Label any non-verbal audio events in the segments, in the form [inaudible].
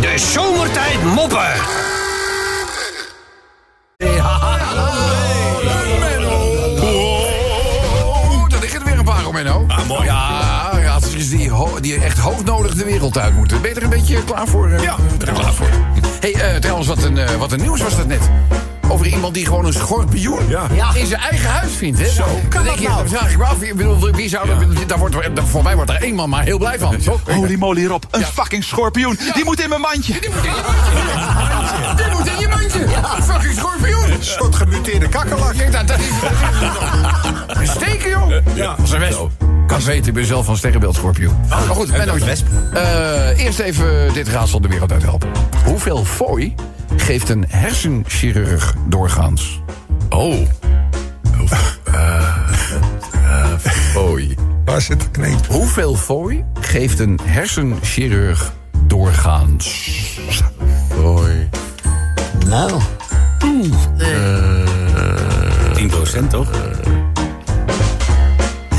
De zomertijd moppen. Wow, daar liggen er weer een paar, Romeno. Ah, mooi. Ja, raadsels die, ho- die echt hoognodig de wereld uit moeten. Ben je er een beetje klaar voor? eh? Ja, ik ben er klaar voor. hey, eh, trouwens, wat een, eh, wat een nieuws was dat net. Over iemand die gewoon een schorpioen Ja. in zijn eigen huis vindt. Hè? Zo, kan dat dan denk je, nou? dan vraag ik me af, ik bedoel, wie zou dat, daar wordt, daar, voor mij wordt er één man maar heel blij van. toch? Holy moly, Rob. Een fucking schorpioen. Die moet in mijn mandje. Die moet in je mandje. Die moet in je mandje. Fucking schorpioen. Een soort gemuteerde kakkerlak. Kijk, dat, dat is dat is een steken, joh. Ja. Dat is een wesp. Kan weten, ik ben zelf van sterrenbeeld schorpioen. maar goed, en ben dat ook wesp. Eh, eerst even dit raadsel de wereld uit helpen. Hoeveel fooi geeft een hersenchirurg doorgaans? Oh. Fooi. Waar zit de kneep? Hoeveel fooi geeft een hersenchirurg doorgaans? Hoi. 10 toch?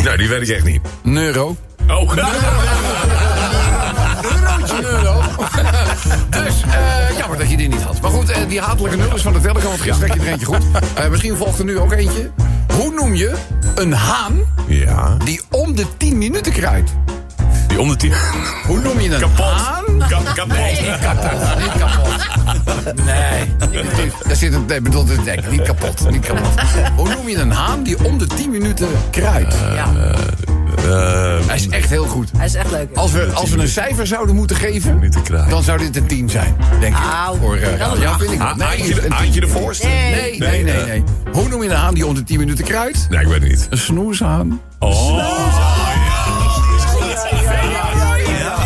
Nou, die weet ik echt niet. Neuro. Oh, [laughs] Een euro. dus, eh jammer dat je die niet had. Maar goed, eh, die hatelijke nummers van de telecom, want gisteren heb je er eentje goed. Eh, misschien volgt er nu ook eentje. Hoe noem je een haan Ja. die om de 10 minuten kraait? Die om de tien. Hoe noem je een haan? Kap, kapot. Niet kapot. Nee. Daar zit een, nee, bedoel, dit- nee, niet kapot. Niet kapot. Hoe noem je een haan die om de 10 minuten kraait? Eh, Hij is echt heel goed. Hij is echt leuk. Als we, als we een cijfer zouden moeten geven, Niet te krijgen. dan zou dit een 10 zijn, denk ik. Au, Voor, eh, dat is ja, een vind ik wel. Ha- Nee, Haantje een de- 10. haantje de voorste? Nee. Nee, nee, nee, nee. Hoe noem je een haan die om de 10 minuten kruidt? Nee, ik weet het niet. Een snoeshaan. Oh.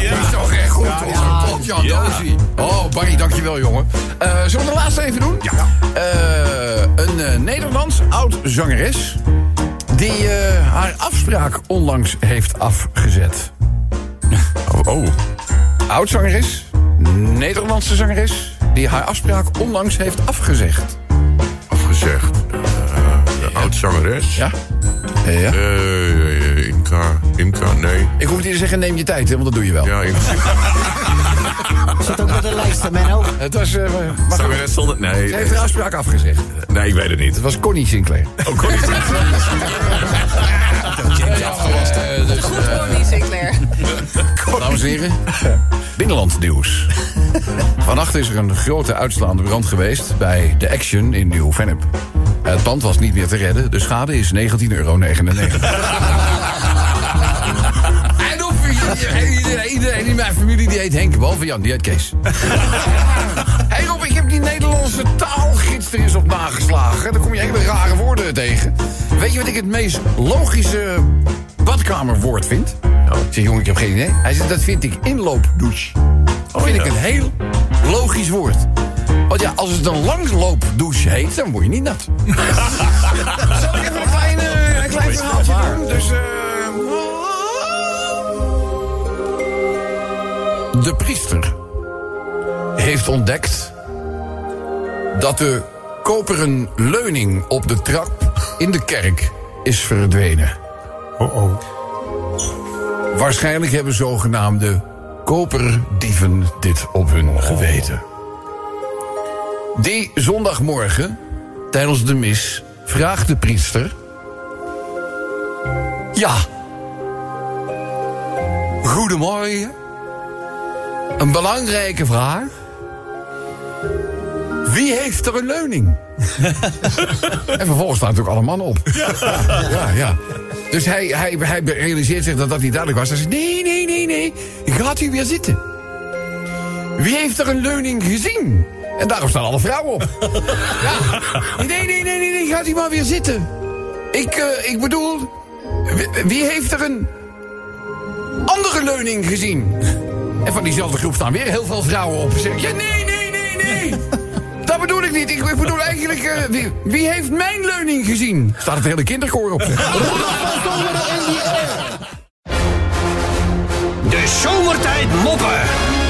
Dat is toch echt goed, hoor. Klopt, Jan Ja. Dozie. Oh, Barry, dankjewel, jongen. Eh, zullen we de laatste even doen? Ja. Eh, een eh, Nederlands oud-zangeres... die eh, haar afspraak onlangs heeft afgezet. Oh, oh. Oud-zangeres, Nederlandse zangeres... die haar afspraak onlangs heeft afgezegd. Afgezegd. Eh, de oud-zangeres. Ja? Ja? Eh, Imka. Imka, nee. Ik hoef niet te zeggen, neem je tijd, hè, want dat doe je wel. Ja, Imka. [laughs] Zit ook op de lijst, Menno. Het was... eh, maar goed, Zangeres zonder... Nee, eh, ze heeft haar afspraak afgezegd. Het nee, ik weet het niet. was Connie Sinclair. Oh, kon niet Eh, dus, Goed voor die Sinclair. Dames en heren, [laughs] binnenland nieuws. Vannacht is er een grote uitslaande brand geweest bij de Action in Nieuw-Vennep. Het pand was niet meer te redden, de schade is 19,99 euro. En op, iedereen, iedereen in mijn familie die heet Henk, behalve Jan, die heet Kees. Hé hey Rob, ik heb die Nederlandse taalgids er eens op nageslagen. Daar kom je hele rare woorden tegen. Weet je wat ik het meest logische badkamerwoord vind? Ik zeg, jongen, ik heb geen idee. Hij zegt, dat vind ik inloopdouche. Dat vind ik een heel logisch woord. Want ja, als het een langloopdouche heet, dan word je niet nat. Zal ik even een, kleine, een klein verhaaltje doen? Dus, eh, De priester heeft ontdekt dat de koperen leuning op de trap in de kerk is verdwenen. Oh oh. Waarschijnlijk hebben zogenaamde koperdieven dit op hun geweten. Die zondagmorgen tijdens de mis vraagt de priester: Ja. Goedemorgen. Een belangrijke vraag. Wie heeft er een leuning? [laughs] en vervolgens staan natuurlijk alle mannen op. Ja, ja. Dus hij, hij, hij realiseert zich dat dat niet duidelijk was. Hij zegt, nee, nee, nee, nee. Gaat u weer zitten. Wie heeft er een leuning gezien? En daarom staan alle vrouwen op. ja. Nee, nee, nee, nee, nee. Gaat u maar weer zitten. Ik, eh, ik bedoel... wie- Wie heeft er een andere leuning gezien? En van diezelfde groep staan weer heel veel vrouwen op. Zeg ik, ja, nee, nee, nee, nee. Dat bedoel ik niet. Ik, ik bedoel eigenlijk, eh, wie, wie heeft mijn leuning gezien? Staat het hele kinderkoor op. De zomertijd moppen.